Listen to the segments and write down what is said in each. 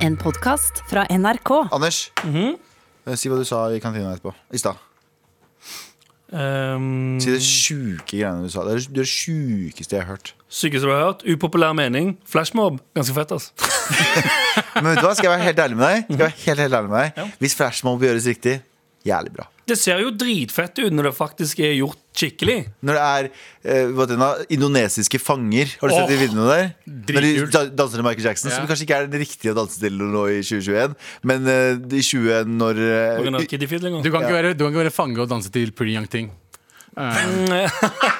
En podkast fra NRK. Anders, Mhm. eh, si hva du sa i kantina etterpå. I stad. Um, Si det sjuke greiene du sa. Det er det- det er det sjukeste jeg har hørt. Sykeste du har hørt. Upopulær mening. Flashmob. Ganske fett, ass. Men vet du hva, skal jeg være helt ærlig med deg? Skal jeg være helt, helt ærlig med deg Hvis flashmob gjøres riktig, jævlig bra. Det ser jo dritfett ut når det faktisk er gjort skikkelig. Når det er eh, hva heter den da? indonesiske fanger. Har du sett de Åh, videoene der? Når de dritkult. da- danser til Michael Jackson, Ja. som kanskje ikke er den riktige dansestilen nå i 2021, men eh, i 20 når På grunn eh, av Kiddie Fiddlinger. Du kan, ikke være, du kan ikke være fange og danse til Pretty Young Thing. Mm, eh.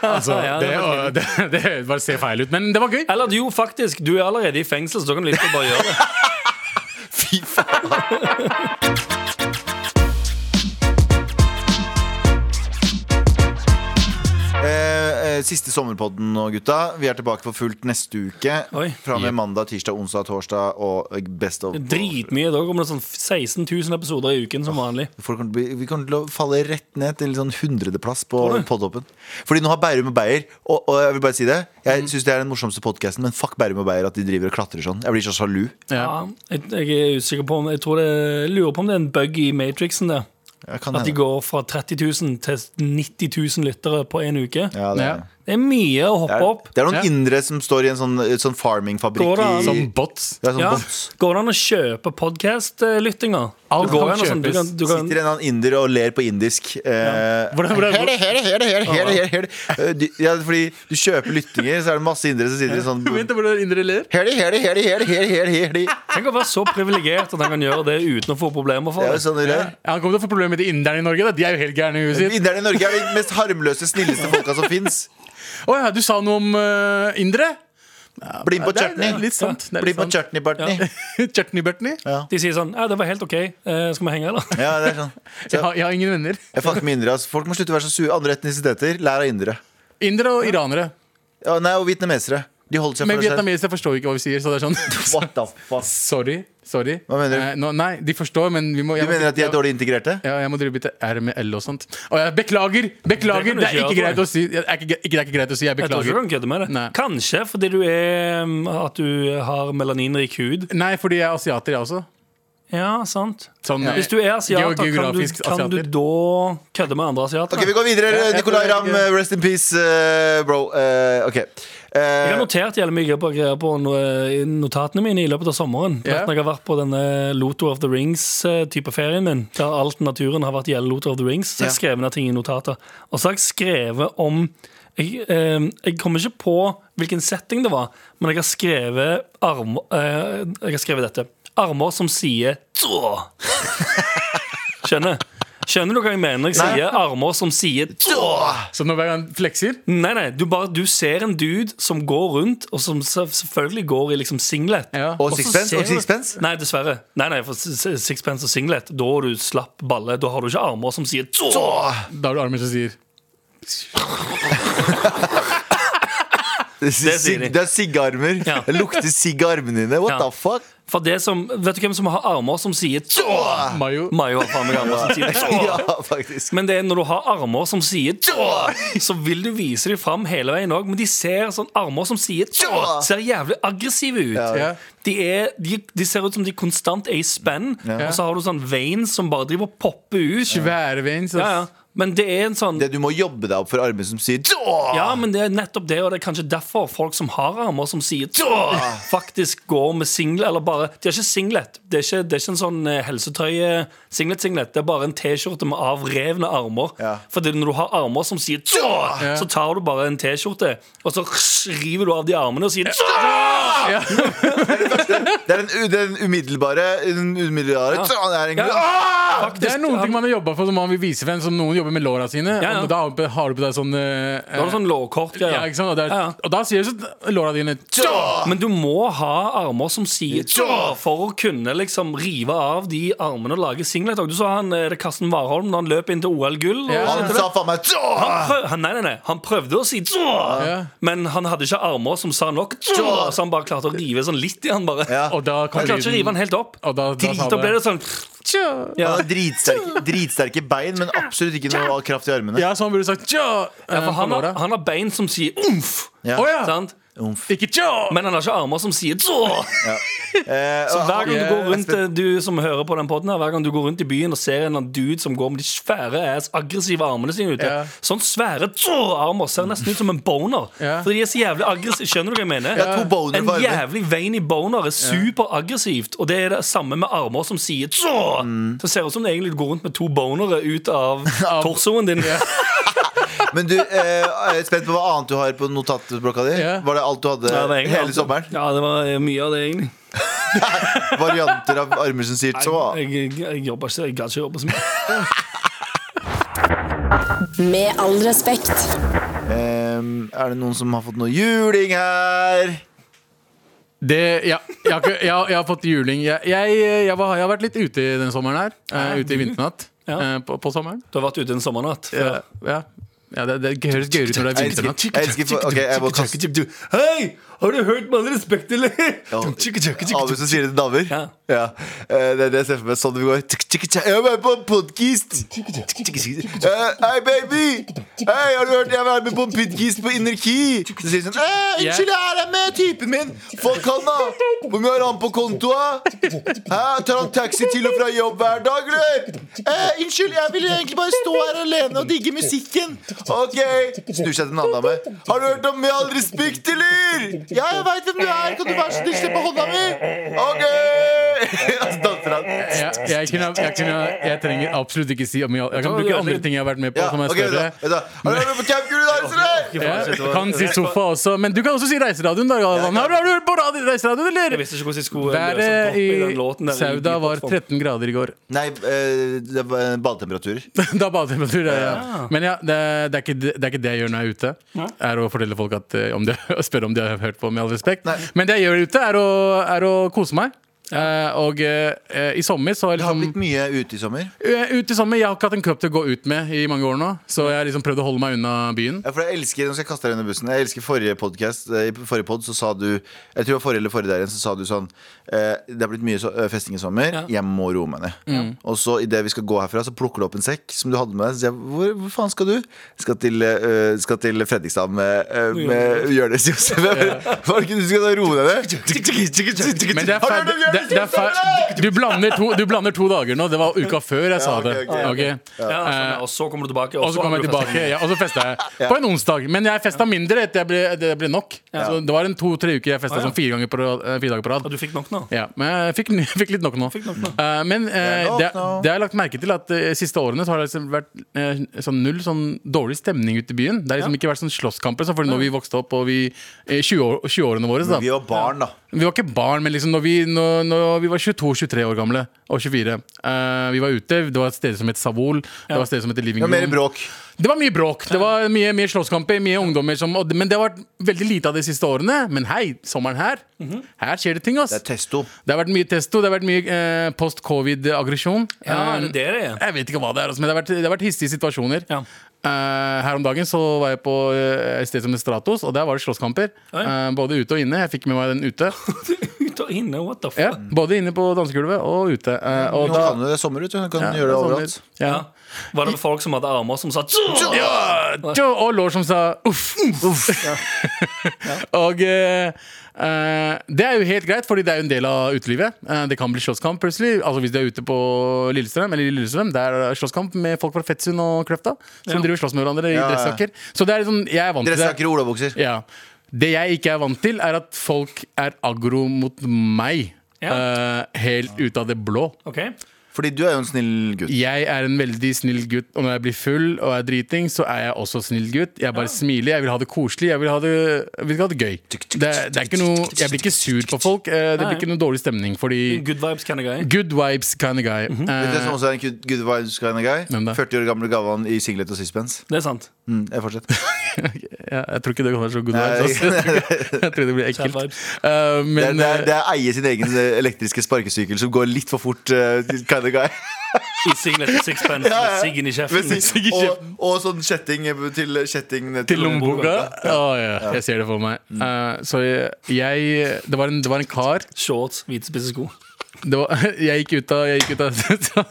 Altså, Ja, det det, og, det, det bare ser feil ut. Men det var gøy. Eller du, jo, faktisk. Du er allerede i fengsel, så da kan du like godt bare gjøre det. Fy faen! Eh, eh, Siste sommerpodden nå, gutta. Vi er tilbake for fullt neste uke. Oi. Fra og med mandag, tirsdag, onsdag, torsdag og eh, Best of. Dritmye. Da kommer det sånn 16 000 episoder i uken som vanlig. Folk kommer til å bli, vi kommer til å falle rett ned til sånn hundredeplass på Tror du? podtoppen. Fordi nå har Bærum og Beyer Og, og jeg vil bare si det Mm. Jeg synes det er den morsomste podcasten, men fuck Bærum og Beyer at de driver og klatrer sånn. Jeg blir så sjalu. Ja, jeg, jeg er usikker på om Jeg tror det, jeg lurer på om det er en bug i Matrixen der. Jeg kan At de hende. går fra 30 000 til 90 000 lyttere på en uke. ja, det, er, Ja. Det er mye å det, hoppe er, opp. det er noen Ja. indre som står i en sånn, et sånn Går farmingfabrikk. det an? i- Som bots. Det er sånn Ja. bots. Går det an å kjøpe podkast-lyttinger? Alt Det går kan an å sånn- du kjøpes. kan- du kan- Sitter en eller annen inder og ler på indisk. Eh, Hvordan- hvordan- Her det, her det, her det, her det, her det, her det, her det. Eh, du- Ja, fordi du kjøper lyttinger, så er det masse indere som sitter i sånn Vent, hvordan indre ler? Her det, her det, her det, her det, her det, her det, her det. Tenk å være så privilegert at han kan gjøre det uten å få problemer Det for er det. jo sånn de ler. Ja, han kommer til å få problemer med de inderne i Norge. Da. De er jo helt gærne i huet sitt. Inderne i Norge er de mest harmløse, snilleste folka som fins. Å ja, du sa noe om eh, indere? Bli med på Det er- det er chutney. Litt sant. det er Bli litt sånn. på sant. chutney-party. Ja. Chutney-burtney. De sier sånn Ja, det var helt OK. Eh, skal vi henge, eller? det er sånn. Jeg, Så, har- jeg har ingen venner. jeg fucker med indere. ass. Folk må slutte å være så sure. Andre etnisiteter, lær av indere. Indere og iranere. Ja, nei, og vietnamesere. De holder seg Men for seg selv. vietnamesere forstår ikke hva vi sier. Så det er sånn What the fuck? Sorry. sorry Hva mener du? Eh, nå, Nei, de forstår, men vi må Du jeg må- mener at de er dårlig integrerte? Ja, jeg må drive litt R med L og sånt. Å, jeg beklager! Det kan Beklager! Det, du er ikke ikke gjøre, greit å si. Det er ikke, ikke, det er ikke greit å si jeg Jeg tror ikke beklager. du kan kødde med det. Nei. Kanskje fordi du er mm, At du har melaninrik hud. Nei, fordi jeg er asiater, jeg også. Ja, sant. Sånn, Hvis du er asiater, geo- kan du, geografisk kan du asiater. da kødde med andre asiater? Ok, Vi går videre. jeg Nicolay tror Ramm, jeg ikke- rest in peace, eh, bro. Eh, ok. Eh, Jeg har notert jævlig mye på, greier på no- eh, i notatene mine i løpet av sommeren. Ja. At Når jeg har vært på denne Loto of the Rings-type ferien min, der alt naturen har vært i Loto of the Rings, så har jeg skrevet ned ting i notater. Og så har jeg skrevet om jeg, eh, jeg kommer ikke på hvilken setting det var, men jeg har skrevet, arm, eh, jeg har skrevet dette. Armer som sier tå. Skjønner? Skjønner du hva jeg mener? når Jeg sier armer som sier tå. Så når hver gang flekser Nei, nei, du, bare, du ser en dude som går rundt, og som selv- selvfølgelig går i liksom singlet. ja. og så sixpence? ser Og du- sixpence? Nei, dessverre. Nei, nei, for s- s- Sixpence og singlet, da er du slapp balle. Da har du ikke armer som sier tå. Da har du armer som sier Det, sier de. sig- det er siggarmer. Ja. Det lukter sigg av armene dine. What Ja. the fuck? For det som, vet du hvem som har armer som sier tå? Mayo. Mayo har faen meg armer som sier tå. Ja, faktisk. Men det er når du har armer som sier tå, så vil du vise dem fram hele veien òg. Men de ser sånn armer som sier tå, ser jævlig aggressive ut. Ja. De, er, de, de ser ut som de konstant er i spenn, og så har du sånn veins som bare driver og popper ut. Svære veins. Ja, ja. ass. Men det er en sånn Det, du må jobbe deg opp for armer som sier Tjå! ja, men det er nettopp det, og det er kanskje derfor folk som har armer som sier «Tå», faktisk går med singlet, eller bare De har ikke singlet. Det er ikke, det er ikke en sånn eh, helsetrøye-singlet-singlet. Det er bare en T-skjorte med avrevne armer. Ja. For det er når du har armer som sier «Tå», så tar du bare en T-skjorte, og så river du av de armene og sier «Tå». Det er den, u- den umiddelbare, den umiddelbare Tjå! Det er en, Ja. Ah! Faktisk, Det er noen ting man har jobba for som man vil vise frem, som noen jobber med låra sine. Ja, ja. Og da har- har du på deg sånn eh, Da har du sånn lårkort-greier. ja, ikke sant? Og, det er- Ja, ja. og da sier du så låra dine Men du må ha armer som sier tjå for å kunne liksom rive av de armene og lage singlet. Og Du så han eh, det er Karsten Warholm da han løp inn til OL-gull. og- Ja. Han sa faen meg Tjå! Prøv- han- Nei, nei, nei, han prøvde å si tjå, Ja. men han hadde ikke armer som sa nok tjå, så han bare klarte å rive sånn litt i han bare. Ja. Og da kom Han klarte ikke å rive han lyden. helt opp. Og da, da, sa Da ble det sånn Tja. ja. Han har dritsterke, dritsterke bein, men absolutt ikke noe kraft i armene. Ja, så han burde sagt tja. Eh, Ja, for han, har, han har bein som sier umf. Ja. Å ja. Sant? Umf. Ikke tjå! Men han har ikke armer som sier så! Eh, Så og- hver gang du Yeah, går rundt eh, Du som hører på den podden her Hver gang du går rundt i byen og ser en eller annen dude som går med de svære ass, aggressive armene sine ute Ja. Sånn svære tå, armer ser nesten ut som en boner. Ja. Fordi de er så jævlig aggressive. Skjønner du hva jeg mener? Ja, to boner en på armen. jævlig veiny boner er superaggressivt. Og det er det samme med armer som sier tå. Mm. Så det ser ut som det egentlig går rundt med to bonere ut av Av- torsoen din. Men du, eh, jeg er spent på hva annet du har på notatblokka di. Ja. Var det alt du hadde Ja, det er egentlig hele alt- sommeren? Ja, det var eh, mye av det, egentlig. Varianter av armer som sier så? Jeg, jeg, jeg jobber ikke, jeg gadd ikke jobbe så mye. Med all respekt. Eh, er det noen som har fått noe juling her? Det, ja, jeg, har ikke, jeg, har- jeg har fått juling. Jeg, jeg, jeg, var, jeg har vært litt ute i denne sommeren her. eh, ute i vinternatt. Ja. eh, på, på sommeren. Du har vært ute en sommernatt. før. Ja, ja. ja det, det høres gøyere ut når det er Jeg elsker, vinternatt. jeg elsker Ok, jeg må kaste Hei! Har du hørt med all respekt, eller? Ja. Abu som sier det til damer. Ja. Ja. Eh, Det er det jeg ser for meg. Sånn det går. Tikk, tikk, tikk. Jeg er med på en podkast! Hei, baby! Hei, har du hørt jeg var med på en podkast på Energi? Så sier de sånn «Eh, Unnskyld, her er med typen min! Fuck han, da! Hvor mye har han på kontoa? Hæ, Tar han taxi til og fra jobb hver dag, eller? Eh, unnskyld, jeg ville egentlig bare stå her alene og digge musikken. Ok. Snur seg til en annen dame. Har du hørt om Med all respekt, eller? Ja, jeg veit hvem du er. Kan du være så snill slippe hånda mi? Ok. Og så danser han. Jeg, jeg, kunne, jeg, kunne, jeg trenger absolutt ikke si om jeg, jeg kan bruke andre ting jeg har vært med på. Ja, som er ok, vet du større hva, vet du hva. Har du hørt på Camp Gulli Dance, eller? Ja, altså, jeg kan si sofa også, men du kan også si Reiseradioen. Da, Galvan. Har du- har du hørt på radio- Reiseradioen, Jeg eller? visste ikke hvordan jeg skulle løse Været opp i den låten. i der Sauda var i- 13 grader i går. Nei, eh, det var badetemperaturer. Da bader jeg på tur. Ja. Men ja, det, det, er ikke, det det er ikke det jeg gjør når jeg er ute. Er å fortelle folk at, eh, om de, og spørre om de har hørt på, med all respekt. Nei. Men det jeg gjør ute, er å, er å kose meg. Eh, og eh, i sommer så har jeg Det har liksom blitt mye ute i sommer. Eh, Ut i sommer, Jeg har ikke hatt en kropp til å gå ut med i mange år nå, så jeg har liksom prøvd å holde meg unna byen. Ja, for jeg elsker, nå skal jeg kaste deg under bussen Jeg elsker forrige podcast eh, I forrige podd så sa du Jeg tror det var forrige eller forrige der igjen Så sa du sånn eh, Det har blitt mye så, eh, festing i sommer Ja. Jeg må roe meg ned Mm. Og så i det vi skal gå herfra Så plukker du opp en sekk Som du hadde med deg Så sier jeg Hvor, hvor faen skal du? Skal til, eh, skal til Fredrikstad med, eh, med Jørnes Josef Jeg bare, Hva er det ikke du skal da roe deg ned? Men det er Har du ferdig, hørt om det, Jonis det er Josef, eller? ferdig. Du, blander to, du blander to dager nå. Det var uka før jeg sa ok, det. ok, ok. Ok. Ja, sånn, ja, og så kommer du tilbake. Eh, Og så kom jeg tilbake, ja, og så festa jeg. På en onsdag. Men jeg festa mindre etter jeg ble, det ble nok. Så det var en to-tre uker jeg festa Ah, ja. sånn fire, ganger på, rad- eh, fire dager på rad. Og du fikk nok nå? Ja, men jeg fikk, ny- fikk litt nok nå. Fikk nok nå. Eh, men Det eh, er nok det, nå. det har jeg lagt merke til at de siste årene så har det liksom vært eh, sånn null sånn dårlig stemning ute i byen. Det har liksom ikke vært sånn slåsskamper. Så for når vi vokste opp og vi eh, 20 år- 20-årene våre da, Vi var barn da vi var ikke barn, men liksom når vi, når, når vi var 22-23 år gamle og 24 eh, Vi var ute, det var et sted som het Savol, det var et sted som het Living Det var mer Room. bråk Det var mye bråk. Det var mye, mye slåsskamper, mye ungdommer som og- Men det har vært veldig lite av de siste årene. Men hei, sommeren her, Mhm. her skjer det ting, ass. Det er testo Det har vært mye testo, det har vært mye eh, post-covid-aggresjon. Eh, Ja, er det det det er? Jeg vet ikke hva det er, altså, men det har vært, det har vært hissige situasjoner. Ja. Eh, her om dagen så var jeg på eh, et sted som het Stratos, og der var det slåsskamper. ja. Eh, både ute og inne. Jeg fikk med meg den ute. Ut og inne, what the fuck? ja, både inne på dansegulvet og ute. Eh, Nå og da, kan du det er sommer ut Du kan ja, gjøre det sånn overalt litt- Ja. Ja. Var det folk som hadde armer som sa «Tjo!» Ja, tjo, og lår som sa uff. uff. og eh, eh, det er jo helt greit, Fordi det er jo en del av utelivet. Eh, det kan bli slåsskamp plutselig. Altså Hvis du er ute på Lillestrøm, eller i Lillestrøm det er slåsskamp med folk fra Fettsund og Kløfta. Som Ja. driver og slåss med hverandre i Ja, ja. dressjakker. Så det er liksom, jeg er vant til det. Dressaker og olabukser Ja. Det jeg ikke er vant til, er at folk er aggro mot meg. Ja. eh, helt ut av det blå. Ok, Fordi du er jo en snill gutt Jeg er en veldig snill gutt, og når jeg blir full og er driting, så er jeg også snill gutt. Jeg bare smiler, jeg vil ha det koselig, jeg vil ha det, jeg vil ikke ha det gøy. Det, det er ikke noe, jeg blir ikke sur på folk, eh, det blir ikke noe dårlig stemning, fordi Good vibes kind of guy. good vibes kind of guy. Mhm. Vet du hvem som Eh, også er sånn- en good- good vibes kind of guy? Hvem da? 40 år gamle Gavan i singlet og sixpence. Det er sant. Mm, jeg fortsetter. jeg, jeg tror ikke det kommer så good Nei. vibes. ass. Jeg tror- Jeg tror det blir Sad ekkelt. vibes. Det Eh, er, men det er, eh, det er eie sin egen eh, elektriske sparkesykkel som går litt for fort. eh, kind of guy I singlet og sixpence med siggen i Med kjeften. sigg- og, og sånn kjetting til, kjetting ned til lommeboka? lommeboka. Å, ja. Jeg ser det for meg. Mm. Eh, så jeg, jeg det, var en, det var en kar Shorts, hvite spisse sko. det var, Jeg gikk ut av, jeg gikk ut av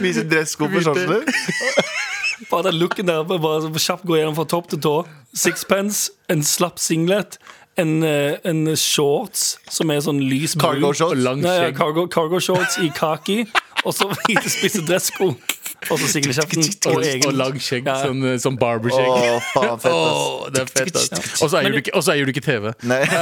Vise dressko på Hvite. sjansene. Bare den looken der. Bare så kjapt gå gjennom fra topp til tå. Sixpence, en slapp singlet, en, eh, en shorts som er sånn lys brun. Cargo shorts. Og langt Nei, ja, skjegg. cargo, cargo shorts i kaki, og så hvite spisse dressko. Og så singlekjeften. Og, Og egen. og langt skjegg, Ja. sånn, eh, sånn barberskjegg. Å, faen, fett, ass. Åh, det er fett, ass. Og så eier, du ikke- og så eier du ikke TV. Nei.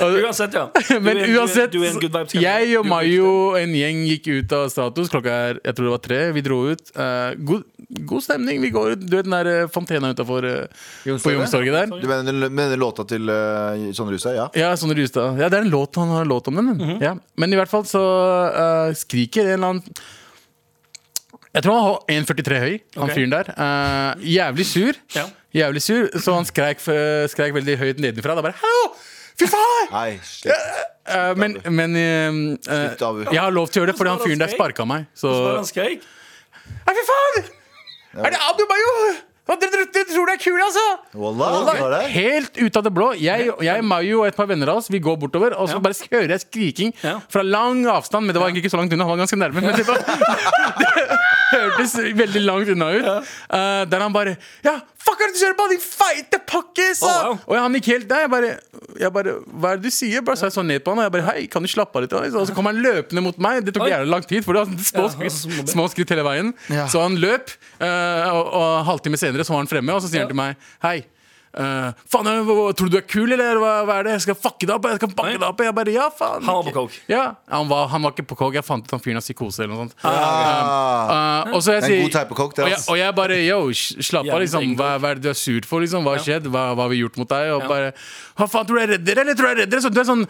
Uansett, ja. Du Men er- du er- uansett, du er en good vibe til. jeg og Du- Mayo og en gjeng gikk ut av status. Klokka er jeg tror det var tre. Vi dro ut. Eh, god, god stemning. Vi går ut Du vet den der eh, fontena utafor på Youngstorget der? Du mener, mener låta til uh, Sondre Huset? Ja. Ja, Sondre Justad. Ja, det er en låt han har en låt om den. Mhm. ja. Men i hvert fall så eh, skriker en eller annen Jeg tror han var 1,43 høy, han Ok. fyren der. Eh, jævlig sur. Ja. Jævlig sur, Så han skreik, f- skreik veldig høyt nedenfra. Da bare Hallo! Fy faen! Nei, shit. Eh, men men eh, eh, Slutt, Abu. jeg har lov til å gjøre det, fordi han Hvordan fyren der skrek? sparka meg. Så var det Så han skreik. Nei, fy faen! Er det Abu Bayo? Hva, Dere dere- dere tror det er kul, altså? Wallah, det var Wallah, det. Helt ut av det blå. Jeg, jeg Mayo og et par venner av oss Vi går bortover, og så Ja. bare hører jeg skriking Ja. fra lang avstand. Men det var egentlig ikke så langt unna. Han var ganske nærme. Men det, var, det hørtes veldig langt unna ut. Eh, der han bare Ja, fuck er det du kjører på, din feite pakkis! Oh, wow. Og han gikk helt der. Jeg bare, jeg bare Hva er det du sier? Bare, så jeg så ned på han, og jeg bare Hei, kan du slappe av litt? Og så kom han løpende mot meg. Det tok Oi. jævlig lang tid, for det var sånn Ja, små altså, skritt små- små skritt hele veien. Så han løp, eh, og, og halvtime senere så var han fremme, og så sier han til meg Hei. eh, faen, eh, hva, hva, tror du du er kul, eller hva, hva er det? Jeg skal fucke deg opp. Jeg skal banke Nei. deg opp Jeg bare, ja, faen Han var på coke. Ja, han var, han var ikke på coke. Jeg fant ut han fyren har psykose eller noe sånt. Ah, Eh, og så jeg det er en god sier type kokk, det. og jeg, ass. og jeg bare yo, sj- slapp av, Jævlig liksom. eng Hva, hva er det du er sur for? liksom Hva har Ja. skjedd? Hva, hva har vi gjort mot deg? Og Ja. bare Hva faen, tror du jeg er redd dere, eller tror du jeg er redd dere? Så du er sånn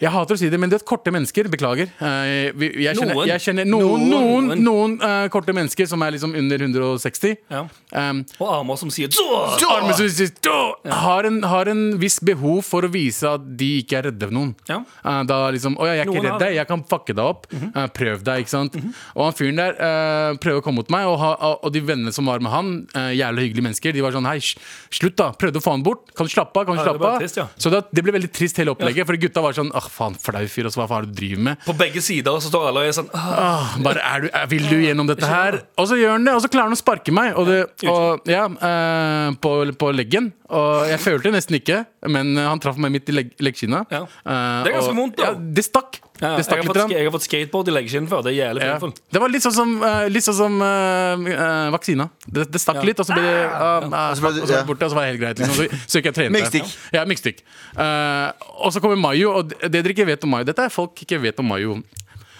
jeg hater å si det, men du vet, korte mennesker Beklager. Eh, vi- jeg, kjenner, Noen. jeg kjenner noen, noen, Noen. noen eh, korte mennesker som er liksom under 160. Ja. Um, Og armer som sier «Zå!» armer som sier, «Då!» har, en, har en viss behov for å vise at de ikke er redde for noen. Ja. Eh, da liksom, Å ja, jeg er ikke Noen Mhm. har redd deg, jeg kan fucke deg opp. Eh, prøv deg, ikke sant. Mhm. Og han fyren der eh, prøver å komme mot meg, og, ha, og de vennene som var med han, eh, jævlig hyggelige mennesker, de var sånn Hei, sj- slutt, da. Prøvde å få han bort. Kan du slappe av? Kan du Ja, det slappe ble av? trist, ja. Så det, det ble veldig trist, hele opplegget. For gutta var sånn Åh, faen, flau fyr, altså, hva faen er det du driver med? På begge sider så står alle og er sånn «Ah, Ah, bare, er du, er, vil du gjennom dette her? Og så gjør han det, og så klarer han å sparke meg og det, og, ja, eh, på, på leggen. Og jeg følte det nesten ikke, men eh, han traff meg midt i legg, leggskina. Ja. Eh, Det er ganske og- vondt, da. Ja, det stakk. ja, det jeg, stakk har litt. fått, grann. jeg har fått skateboard i leggskinnet før. Det er jævlig Ja. painful. Det var litt sånn som, eh, litt sånn som eh, eh, vaksina. Det, det stakk Ja. litt, og så ble det ah, ah, så ble fuck, det- og så var ja. det borte, og så var det helt greit. Liksom. Så, så gikk jeg og trente. Myggstikk. Ja, myggstikk. Eh, og så kommer Mayo, og det det dere ikke vet om Mayo Dette er folk ikke vet om Mayo.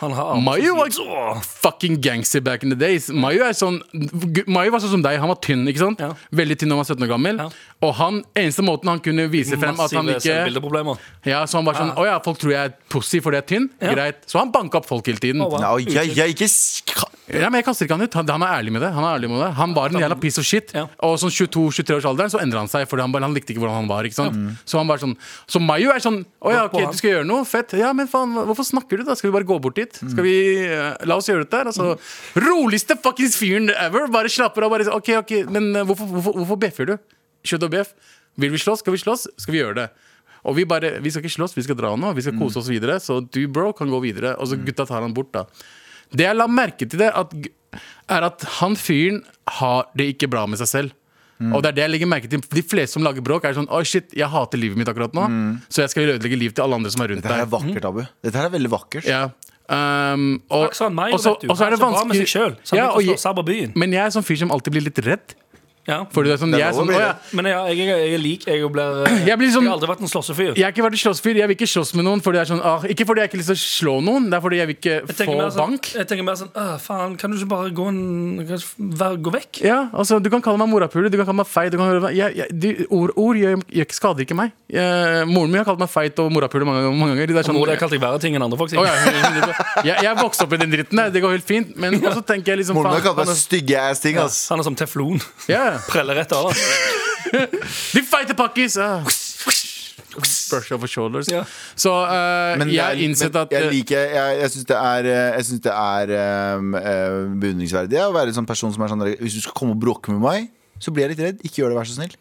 Han har armer Mayo var som sier «Zå!» fucking gangster back in the days. Mayo, er sånn, Mayo var sånn som deg. Han var tynn. ikke sant? Ja. Veldig tynn da han var 17 år gammel. Ja. Og han, eneste måten han kunne vise frem at han Massive ikke selvbildeproblemer. ja, Så han var sånn Å ja, folk tror jeg er pussy fordi jeg er tynn. Ja. Greit. Så han banka opp folk hele tiden. Å, wow. Nei, jeg, jeg ikke sk- Ja, men Jeg kaster ikke han ut. Han, han er ærlig med det. Han er ærlig med det Han var en jævla piece of shit. Ja. Og sånn 22-23 års alderen så endra han seg, Fordi han, bare, han likte ikke hvordan han var. ikke sant? Så han var sånn Så Mayo er sånn Å ja, Godt på ok, han. du skal gjøre noe? Fett. Ja, men faen, hvorfor snakker du, da? Skal vi bare gå bort dit? Mm. Skal vi eh, La oss gjøre dette her. Altså, roligste fuckings fyren ever. Bare slapper av. Bare så, OK, ok, men eh, hvorfor, hvorfor, hvorfor bjeffer du? Kjøtt og bjeff. Vil vi slåss? Skal vi slåss? Skal vi gjøre det? Og vi bare, vi skal ikke slåss, vi skal dra nå. Vi skal Mm. kose oss videre. Så du, bro, kan gå videre. Og så gutta tar han bort, da. Det jeg la merke til det, at, er at han fyren har det ikke bra med seg selv. Mm. Og det er det jeg legger merke til De fleste som lager bråk, er sånn Å, shit, jeg hater livet mitt akkurat nå, så jeg skal ødelegge livet til alle andre som er rundt Dette her Mm. er deg. vakkert, Abu. Dette her er veldig vakkert. Ja. Um, og, Takk sa han meg, og så vet du. og så er det Han var med vanskelig seg selv, så han begynte ja, å og slå jeg- sabba byen. Men jeg er sånn fyr som alltid blir litt redd. Ja. Fordi det er sånn, Det er jeg er lov å sånn bli Å ja. redd. Men ja, jeg, jeg, jeg er lik. Jeg blir, eh, Jeg blir sånn- jeg har aldri vært en slåssefyr. Jeg har ikke vært en slåssfyr. Jeg vil ikke slåss med noen. Fordi det er sånn, ah, ikke fordi jeg ikke har lyst til å slå noen, det er fordi jeg vil ikke Jeg få tenker mer sånn, bank. jeg tenker mer sånn «Åh, Faen, kan du ikke bare gå, en, kan du ikke være- gå vekk? Ja, altså Du kan kalle meg morapule, du kan kalle meg feit. Du kan kalle meg, jeg, jeg, de, ord ord gjør, gjør, ikke- skader ikke meg. Eh, moren min har kalt meg feit og morapule mange, mange ganger. Det er sånn, Mor, det har kalt deg verre ting enn andre folk. sier. Å ja, jeg, jeg vokste opp i den dritten der, det går helt fint. Men også tenker jeg liksom Moren min har kalt faen, meg sånne stygge ass-ting. ass Han er som teflon. ja, Preller rett av. De feite pakkis! Ah. Brush over shoulders. Ja. Så eh, Men jeg har innsett men at Jeg eh, liker Jeg, jeg syns det er eh, Jeg synes det er ehm, eh, beundringsverdig å være en sånn person som er sånn der, Hvis du skal komme og bråke med meg, så blir jeg litt redd. Ikke gjør det, vær så snill.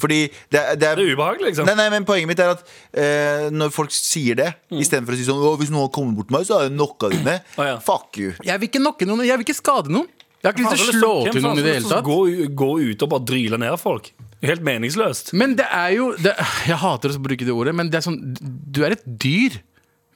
Fordi det, er- det Det er er ubehagelig, liksom. Nei, nei, men Poenget mitt er at eh, når folk sier det, Mm. istedenfor å si sånn «Å, Hvis noen kommer bort til meg, så har jeg knocka dine. Å, ja. Fuck you. Jeg vil ikke nokke noen, jeg vil ikke skade noen. Jeg har ikke lyst til å slå Hvem til faen noen i sånn- har lyst det hele til å tatt. Gå, gå ut og bare dryle ned folk. Det er Helt meningsløst. Men det er jo det, Jeg hater å bruke det ordet, men det er sånn Du er et dyr.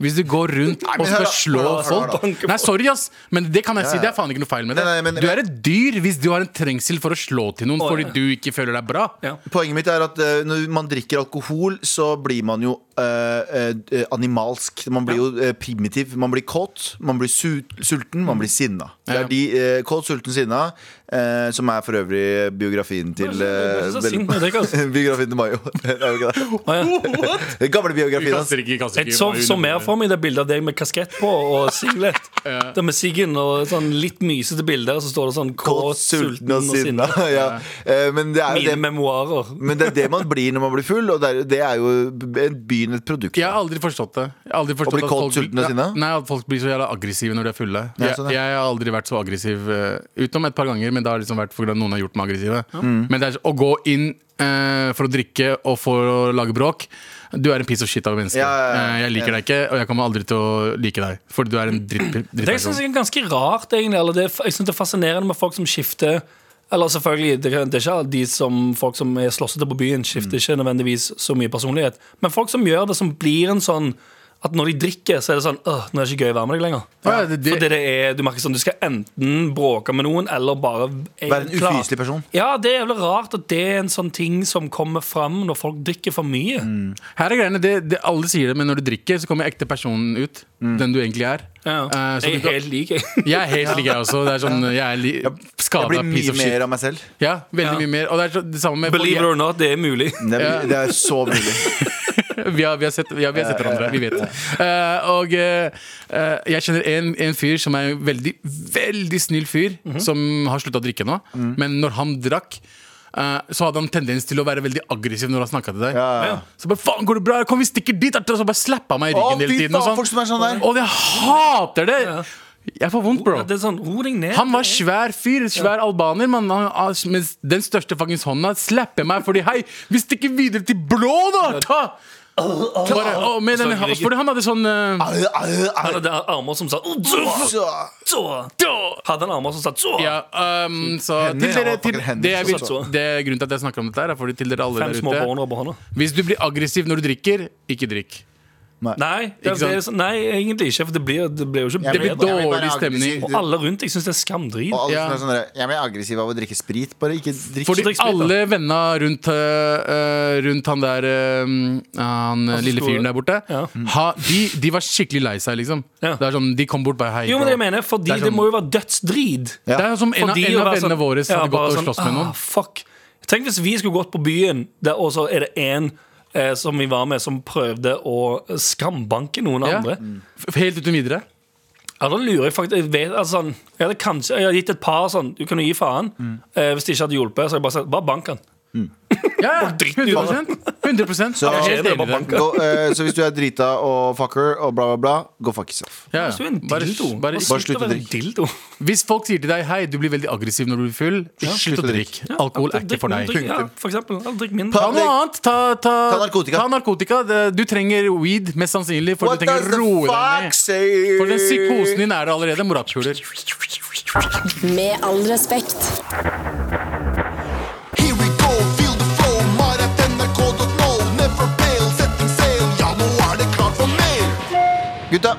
Hvis du går rundt og men hør skal da, slå hør da, hør da. folk Nei, sorry, ass, men det kan jeg si. ja. Det er faen ikke noe feil med det. Nei, nei, men- Du er et dyr hvis du har en trengsel for å slå til noen Å, fordi ja. du ikke føler deg bra. Ja. Poenget mitt er at eh, når man drikker alkohol, så blir man jo eh, eh, animalsk. Man blir jo eh, primitiv. Man blir kåt, man blir su sulten, man blir sinna. Det Ja. er de eh, kåt, sulten, sinna, eh, som er for øvrig biografien til eh, Jeg synes det er vel- sint med deg, altså. Biografien til Mayo. Det er jo ikke det. What? Den gamle biografien hans. Kaster ikke, kaster Jeg ikke så, meg så under mer bordet. for meg det bildet av deg med kaskett på og singlet. Det med siggen og sånn litt mysete bilder, og så står det sånn Kåt, sulten og sinna. Ja. Eh, Men det er jo Mine det. memoarer. Men det er det man blir når man blir full, og det er, det er jo byen et produkt. Jeg har aldri forstått det. Jeg har aldri forstått bli at kåt, folk blir- sulten og sinna? Nei, at folk blir så jævla aggressive når de er fulle. Ja, Jeg, sånn, jeg ja. har aldri vært så aggressiv, eh, utenom et par ganger, men det har liksom vært fordi noen har gjort meg aggressive. Mm. Men det er så- å gå inn eh, for å drikke og for å lage bråk Du er en piece of shit av et menneske. Ja, ja, ja. Eh, jeg liker deg ikke, og jeg kommer aldri til å like deg. Fordi du er en sånn dritt, Det syns drittperson. jeg er ganske rart, egentlig. Eller det, jeg synes det er fascinerende med folk som skifter Eller selvfølgelig, det, kan- det er ikke alle de som folk som er slåssete på byen, Mm. skifter ikke nødvendigvis så mye personlighet. Men folk som gjør det, som blir en sånn at når de drikker, så er det sånn Åh, nå er det ikke gøy å være med deg lenger. Ja, det- det- Fordi det er, du merker sånn, du skal enten bråke med noen, eller bare Være en ufyselig person. Ja, det er jævlig rart at det er en sånn ting som kommer fram når folk drikker for mye. Her er greiene, det, det, Alle sier det, men når du drikker, så kommer ekte personen ut. Mm. Den du egentlig er. Ja. Eh, så jeg du kan- er helt lik, jeg. jeg er helt lik, jeg også. Det er sånn, jeg er li Jeg skada blir piece mye of shit. mer av meg selv. Ja, veldig Ja. mye mer. Og det er så, det samme med Believe it or not, det er mulig. Det er, det er så mulig. vi, har, vi, har sett, ja, vi har sett hverandre, vi vet det. Eh, og eh, eh, jeg kjenner en, en fyr som er en veldig, veldig snill fyr, Mhm. som har slutta å drikke nå. Mm. Men når han drakk, eh, så hadde han tendens til å være veldig aggressiv når han snakka til deg. Ja, ja. Så bare, faen går det bra? Kom, vi stikker dit! Og så bare slappa han meg i ryggen Å, hele fy tiden. Og, faen, sånn. folk som er sånn der. og jeg hater det! Jeg får vondt, bro. Det er sånn, ro deg ned. Han var svær fyr, svær albaner, mann. Han- han- Med den største fuckings hånda slapper meg fordi Hei, vi stikker videre til blå, da! Ta! Bare, og med den, Så gikk- fordi han hadde sånn eh, Au, au, au. Han hadde armer som sa «Åh, døff, Så. døff». Hadde han armer som sa «Døff». ja, um, så Hender, til han dere, var til, fucking hender, det, jeg vil, så- det er grunnen til at jeg snakker om dette, her, er fordi til dere alle Fem der små ute. barn på hånda. Hvis du blir aggressiv når du drikker, ikke drikk. Nei, det, Ikke det, sant? er sånn- nei, egentlig ikke, for det blir, det blir jo ikke Jeg Det bedre. vet- jeg vet blir bare dårlig stemning. aggressiv. Og alle rundt jeg syns det er skamdrit. Og alle Ja. som er sånn der, Jeg blir aggressiv av å drikke sprit. Bare ikke drikk Fordi drikk sprit, da. alle venna rundt, øh, øh, rundt han der øh, Han øh, lille store- fyren der borte, Ja. ha, de, de var skikkelig lei seg, liksom. Ja. Det er sånn, De kom bort bare hei. Jo, men bro. det jeg mener, fordi Det det, er sånn- må jo være dødsdrid. Ja. Det er som en av, Fordi en å av være vennene sånn- våre som ja, hadde gått bare og sånn, slåss med noen. «Ah, fuck. Tenk hvis vi skulle gått på byen, der, og så er det én eh, som vi var med, som prøvde å skambanke noen Ja. andre. F- Helt uten videre. Ja, da lurer jeg faktisk Jeg, vet, altså, sånn, jeg hadde kanskje jeg hadde gitt et par sånn Du kan jo gi faen. Eh, hvis det ikke hadde hjulpet, så hadde jeg bare sagt bare bank han. Ja, dritt ut av 100 100 Så- Jeg er Jeg helt er enig bare i det. banka. Gå, eh, så hvis du er drita og fucker og bla, bla, bla, go fuck yourself. Ja, Hvis du er en ja. Bare, dildo, bare, bare slutt slutt å å være en drikke. dildo. hvis folk sier til deg Hei, du blir veldig aggressiv når du blir full, slutt å drikke. Alkohol er ikke for deg. Drikk, ja, for eksempel. Ja, Drikk Ta mindre. noe annet. Ta, ta, Ta narkotika. Ta narkotika. Det- Du trenger weed, mest sannsynlig, for du trenger å roe deg ned. say? For den psykosen din er det allerede. Morapuler. Med all respekt. Here we go, feel the flow. Marat.nrk.no, never fail. Setting sail, ja, nå er det klart for mer. Gutta,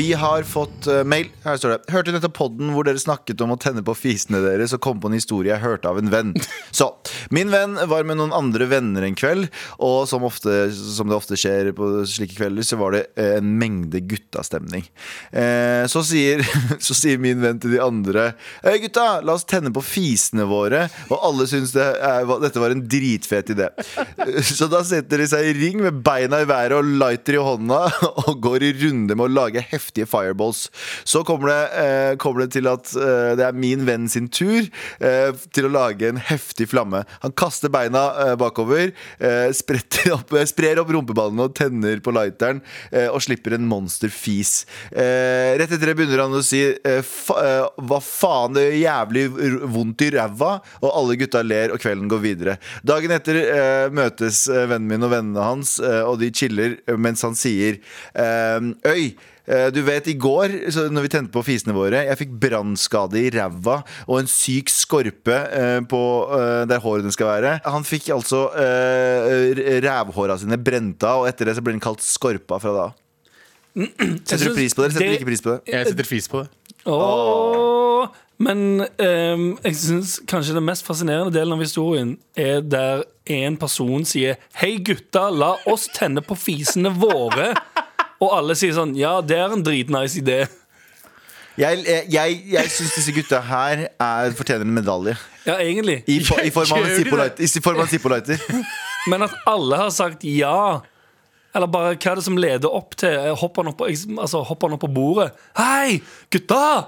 vi har fått eh, mail. Her står det. Hørte nettopp podden hvor dere snakket om å tenne på fisene deres og kom på en historie jeg hørte av en venn. Så, Min venn var med noen andre venner en kveld, og som, ofte, som det ofte skjer på slike kvelder, så var det eh, en mengde guttastemning. Eh, så, sier, så sier min venn til de andre Hei, gutta, la oss tenne på fisene våre. Og alle syns det er, hva- dette var en dritfet idé. Så da setter de seg i ring med beina i været og lighter i hånda og går i runde med å lage heftige fireballs. Så kommer det, eh, kommer det til at eh, det er min venn sin tur eh, til å lage en heftig flamme. Han kaster beina eh, bakover, eh, spretter opp, eh, sprer opp rumpeballene og tenner på lighteren eh, og slipper en monsterfis. Eh, rett etter det begynner han å si eh, fa, eh, hva faen, det gjør jævlig r- vondt i ræva, og alle gutta ler, og kvelden går videre. Dagen etter eh, møtes eh, vennen min og vennene hans, eh, og de chiller eh, mens han sier eh, Øy, Eh, Du vet, i går, så når vi tente på fisene våre, jeg fikk brannskade i ræva og en syk skorpe eh, på, eh, der hårene skal være. Han fikk altså eh, r- rævhåra sine brent av, og etter det så ble han kalt Skorpa fra da av. Setter synes du pris på det, eller setter det- du ikke pris på det? Jeg setter fis på det. Åh. Men ehm, jeg synes kanskje den mest fascinerende delen av historien er der en person sier 'Hei, gutta, la oss tenne på fisene våre'. Og alle sier sånn 'Ja, det er en dritnice idé'. Jeg, jeg, jeg, jeg syns disse gutta her er, fortjener en medalje. Ja, egentlig. I, for, i form av en Gjør de Zippo-lighter- i form av en Zippo-lighter. Men at alle har sagt ja Eller bare hva er det som leder opp til eh, Hopper han opp, på- altså, hopper han opp på bordet Hei, gutta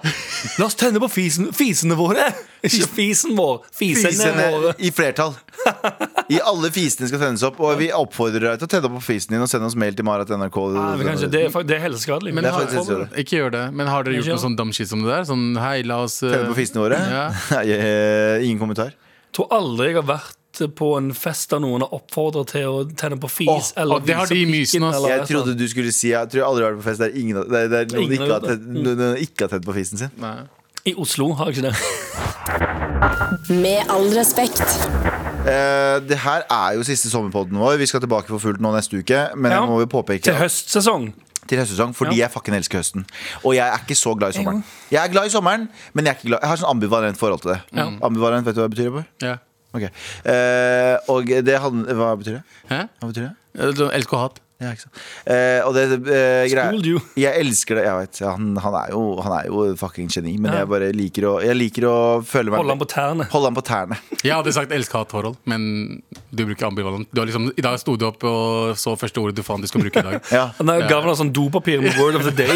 La oss tenne på fisen, fisene våre Ikke fisen vår, fisene, Fisene våre i flertall. I alle fisene skal tennes opp. Og vi oppfordrer deg til å tenne opp på fisen din og sende oss mail til marat.nrk. Nei, men kanskje, det, er, fak- det er helseskadelig Men Det er har, faktisk helt større. ikke gjør det. Men har dere gjort Ikke noe sånn dumb shit som det der? Sånn hei, la oss eh, Tenne på fisene våre? Ja. Nei, eh, ingen kommentar. Jeg tror aldri jeg har vært på en fest Der noen har oppfordret til å tenne på fis Åh, eller åh, det har vise de i pikken, mysen, altså. ass. eller Jeg et eller trodde annet. du skulle si Jeg tror jeg aldri har vært på fest der ingen, der, der noen Ingen ikke har har, gjort det. tent, noen ikke har tent på fisen sin. Nei. I Oslo har jeg ikke det Med all respekt. Eh, det her er jo siste sommerpodden vår. Vi skal tilbake for fullt nå neste uke. Men Ja. jeg må jo påpeke Til høstsesong til høstsesong fordi Ja. jeg fucking elsker høsten. Og jeg er ikke så glad i sommeren. Jeg er glad i sommeren, men jeg, er ikke glad. jeg har sånn ambivalent forhold til det. Ambivalent, Vet du hva det betyr? Bård? Ja. Ok. Eh, og det handler Hva betyr det? Hæ? Hva betyr det? Elsker hat. Ja, ikke sant. Eh, og det eh, greia Spoiled you. Jeg elsker det. Jeg vet, han, han, er jo, han er jo fucking geni, men Ja. jeg bare liker å Jeg liker å føle meg Holde han på tærne Holde han på tærne. Jeg hadde sagt elsk-hat-forhold, men du bruker ambivalent. Du har liksom, I dag sto du opp og så første ordet du faen du skal bruke i dag. Ja. Han er gammel av sånn dopapir med word of the day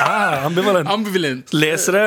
ah, Ambivalent Ambivalent. Leser det,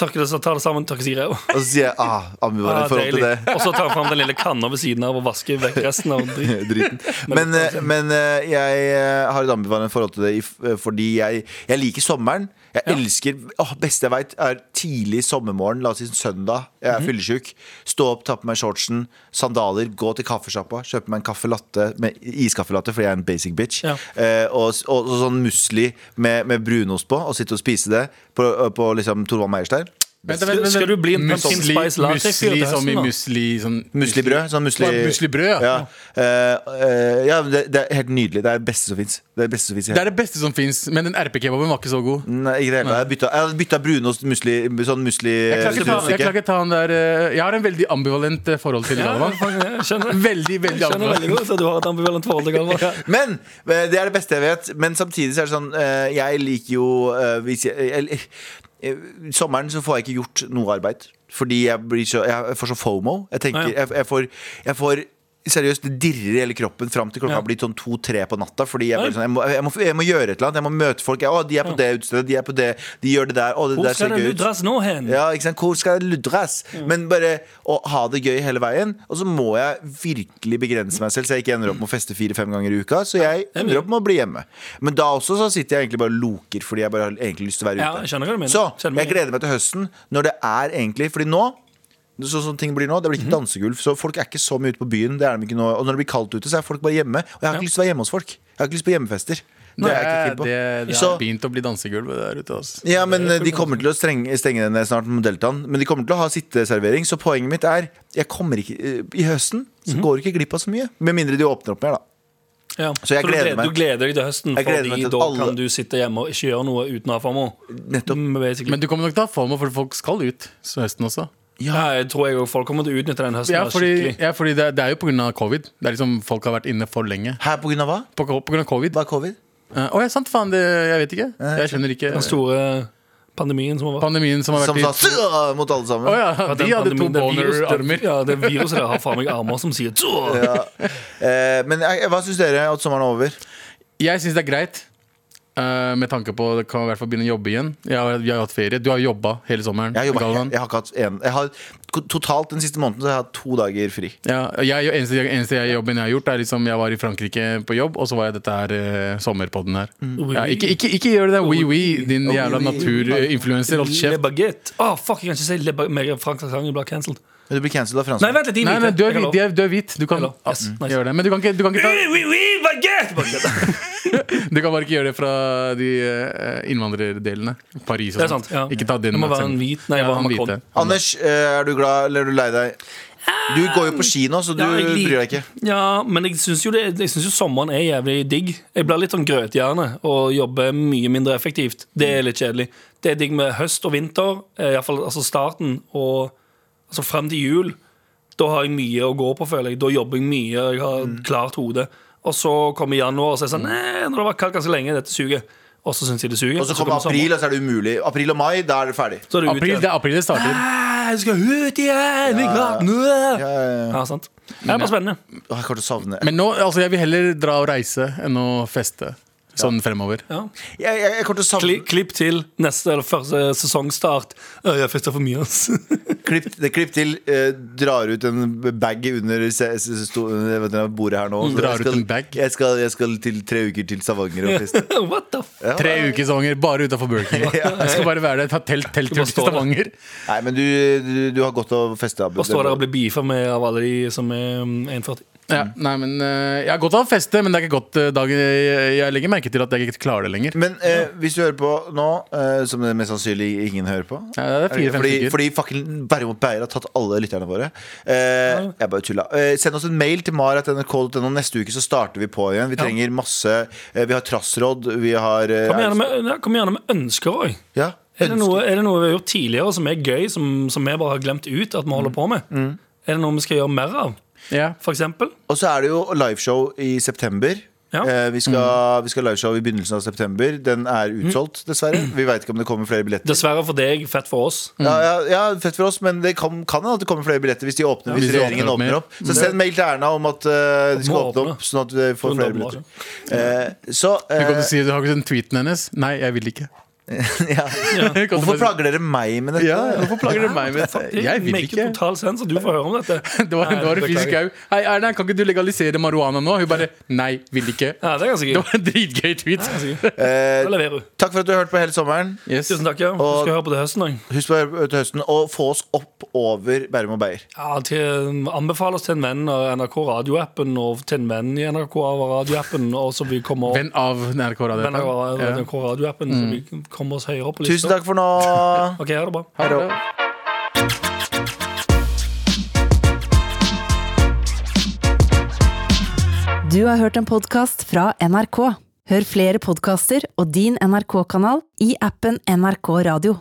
tørker det, så tar det sammen, tørker seg i ræva. Og så sier jeg ah, ambivalent Ah, forhold til deilig. det. Og så tar han fram den lille kanna ved siden av og vasker vekk resten av dritt. Driten. Men, eh, men eh, jeg eh, har et ambivalent forhold til det i f- eh, fordi jeg, jeg liker sommeren. Jeg elsker åh, beste jeg veit, er tidlig sommermorgen, la oss si søndag. Jeg er fyllesyk. Stå opp, ta på meg shortsen, sandaler, gå til kaffesjappa, kjøpe meg en caffè latte med iskaffe latte, fordi jeg er en basic bitch. Ja. Eh, og, s- og, og sånn musli med, med brunost på, og sitte og spise det på, på liksom Torvald Meierstein. Vent, vent, vent. Skal du bli en pumpkin Musli- spice latte fyr Musli til som i høsten, da? musli sånn Muslibrød. Sånn musli... Å, muslibrød, ja. ja. Eh, eh, ja, det, det er helt nydelig. Det er det beste som fins. Det er det beste som fins. Det er det beste som fins, men den RP-kebaben var ikke så god. Nei, ikke det hele. Jeg bytta- jeg hadde bytta brunost musli, sånn musli Jeg klarer ikke ta, jeg klarer knusstykke. ikke ta han der eh, Jeg har en veldig ambivalent eh, forhold til Galvan. Jeg skjønner, Veldig, veldig jeg skjønner veldig ambivalent. godt at du har et ambivalent forhold til Galvan. Men eh, det er det beste jeg vet. Men samtidig så er det sånn eh, Jeg liker jo eh, hvis jeg, jeg, eh, Sommeren så får jeg ikke gjort noe arbeid. Fordi jeg, blir så, jeg får så fomo. Jeg, tenker, Ja, ja. jeg, jeg får, jeg får Seriøst, Det dirrer i hele kroppen fram til klokka Ja. blir sånn to-tre på natta. Fordi jeg, Ja. blir sånn, jeg, må, jeg, må, jeg må gjøre et eller annet. Jeg må møte folk. Jeg, å, de er på det utestedet, de er på det, de gjør det der. Å, det Hvor der ser skal den gøy ut. ludres nå hen? Ja, ikke sant? Hvor skal det ludres? Mm. Men bare å ha det gøy hele veien. Og så må jeg virkelig begrense meg selv, så jeg ikke ender opp med å feste fire-fem ganger i uka. Så jeg ender opp med å bli hjemme. Men da også så sitter jeg egentlig bare og loker, fordi jeg bare har egentlig lyst til å være Ja, ute. jeg skjønner hva du mener. Så Skjønner jeg meg. gleder meg til høsten, når det er egentlig Fordi nå Sånn som ting blir nå, Det blir Mhm. ikke dansegulv, så folk er ikke så mye ute på byen. Det er de ikke nå Og når det blir kaldt ute, så er folk bare hjemme. Og jeg har ikke lyst til å være hjemme hos folk. Jeg har ikke lyst på hjemmefester. Det er jeg ikke keen på. det, det Så- har begynt å bli dansegulv der ute. ass. ja, men eh, de kommer til å strenge, stenge den ned snart med Deltaen. Men de kommer til å ha sitteservering. Så poenget mitt er jeg kommer ikke, eh, I høsten så Mhm. går du ikke glipp av så mye. Med mindre de åpner opp mer, da. Ja. Så jeg du gleder meg. Du gleder deg til høsten, Jeg gleder meg fordi til at da alle- kan du sitte hjemme og ikke gjøre noe uten å ha FOMO. Nettopp. Mm, basically. Men du kommer nok til å ha FOMO, for folk skal ut så høsten også. Ja, jeg tror jeg også folk kommer til å utnytte den høsten Ja, her fordi, skikkelig. ja, fordi det, det er jo pga. covid. Det er liksom Folk har vært inne for lenge. Her på grunn av hva? På, på grunn av covid. Hva er covid? Eh, Å ja, sant faen. Det, jeg vet ikke. Jeg skjønner ikke. Den store pandemien som har vært. Pandemien som har Som vært sa i to- «Tja!» mot alle sammen. Å ja, de Den hadde to pandemien, det virus- boner-armer. det- Ja, det viruset der har faen meg armer som sier «Tå!» Eh, men eh, hva syns dere at sommeren er over? Jeg syns det er greit. eh, med tanke på det kan i hvert fall begynne å jobbe igjen. Jeg har, jeg har hatt ferie. Du har jobba hele sommeren. Jeg har, jobbet, jeg, Galvan. jeg har ikke hatt en, jeg har, Totalt den siste måneden så har jeg hatt to dager fri. Ja, jeg, eneste, eneste jeg, jobben jeg har gjort, er liksom jeg var i Frankrike på jobb, og så var jeg dette her eh, sommerpodden her. Mm. Ja, ikke, ikke, ikke gjør det Oh, der oui-oui, din jævla naturinfluenser. Hold Le kjeft. baguette. Å, fuck, jeg kan ikke si le baguette. Frank Lasagne blir cancelled. Men du blir cancelled av Nei, franskmenn. vent litt, de Nei, nei, du er hvit. Jeg Du er, du er hvit. Du kan Hello. Yes, Ah, nice. gjør det. Men du kan ikke, du kan ikke ta kan lov. Oui, oui, baguette! Baguette. Du kan bare ikke gjøre det fra de eh, innvandrerdelene. Paris og Det er sånt. sant, ja. Ikke ta den Det må være aksenten. en hvit- nei, hva en Macron. hvite. Anders, eh, er du glad eller er du lei deg? Du går jo Ah, på kino, så du Ja, jeg lik- bryr deg ikke. Ja, men jeg syns jo, det- jeg synes jo sommeren er jævlig digg. Jeg blir litt sånn grøthjerne og jobber mye mindre effektivt. Det er litt kjedelig. Det er digg med høst og vinter, eh, i hvert fall altså starten, og altså frem til jul. Da har jeg mye å gå på, føler jeg. Da jobber jeg mye, jeg har Mm. klart hode. Og så kommer januar, og så er jeg sånn Nei, nå har det vært kaldt ganske lenge, dette suger. Og så syns jeg det suger. Og så kommer april, sommeren. og så er det umulig. April og mai, da er det ferdig. Så er det ut April, igjen. det er april det starter. «Æ, Jeg skal ut igjen! Jeg glad nå! Ja, ja, ja. Ja, sant. Det er bare spennende. Å, Jeg kommer til å savne Men nå, altså, jeg vil heller dra og reise enn å feste. Sånn fremover. Ja. Jeg, jeg, jeg kommer til å savne Kli, klipp til neste eller første sesongstart. Å, Jeg festa for mye, ass. Klipp, det- klipp til eh, drar ut en bag under se- se- sto- jeg vet ikke, bordet her nå. Så Mm. drar jeg ut skal, en bag. Jeg skal, jeg skal til tre uker til Stavanger og feste. What the f... Tre ukesonger bare utafor Burger King. Jeg skal bare være der, ta telt, telttur bare til står der. Stavanger. Nei, men du, du, du har godt av å feste. Abu. Og står der og blir beefa med av alle de som er mm, 1,40. Ja, nei, men eh, Jeg har godt av å feste, men det er ikke godt eh, dagen jeg, jeg legger merke til at jeg ikke klarer det lenger. Men eh, hvis du hører på nå, eh, som det mest sannsynlig ingen hører på Ja, det er fire-fem Fordi, stykker. fordi fucking Berrum og Beyer har tatt alle lytterne våre. Eh, jeg bare tulla. Eh, send oss en mail til mar.nrk.no. Neste uke så starter vi på igjen. Vi trenger masse eh, Vi har trassråd, vi har eh, Kom gjerne med, ja, kom gjerne med ønsker òg. ja, Er, det ønsker. noe- er det noe vi har gjort tidligere som er gøy, som, som vi bare har glemt ut at vi Mm. holder på med? Er det noe vi skal gjøre mer av? Ja. For eksempel? Og så er det jo liveshow i september. Ja. Mm. Eh, vi, skal, vi skal ha liveshow i begynnelsen av september. Den er utsolgt, dessverre. Mm. Vi veit ikke om det kommer flere billetter. Dessverre for deg, fett for oss. Ja, Mm. ja, ja, Fett for oss, men det kan kan hende at det kommer flere billetter hvis de åpner. hvis hvis de regjeringen åpner opp åpner opp mer. Så send mail til Erna om at eh, de skal åpne Må åpne. opp, sånn at vi får Hun flere åpner, billetter. Eh, så Du kan eh, jo si du har ikke den tweeten hennes. Nei, jeg vil ikke. ja. Kan du Hvorfor bare si- plager dere meg med dette? ja, hvorfor plager du meg med dette? Jeg vil Make ikke. total sense at du får høre om dette. Det var, det var en Nei, fysisk beklager. au. Hei, Erna, kan ikke du legalisere marihuana nå? Hun bare nei, vil ikke. Ja, det er ganske gøy. Det var en dritgøy tweet. Ganske gøy. Eh, Da leverer hun. takk for at du har hørt på hele sommeren. Yes. Tusen takk. ja Du Og- skal høre på det høsten òg. Husk på å høre på til høsten og få oss opp over Bærum og Beyer. Ja, til, anbefale oss til en venn av NRK radioappen og til en venn i NRK av radioappen. Og så vi kommer opp Venn av NRK Radio. venn av Ja. NRK radioappen Så vi kommer oss høyere opp på Tusen takk for nå. Ok, ha det bra Ha det. Du har hørt en podkast fra NRK. Hør flere podkaster og din NRK-kanal i appen NRK Radio.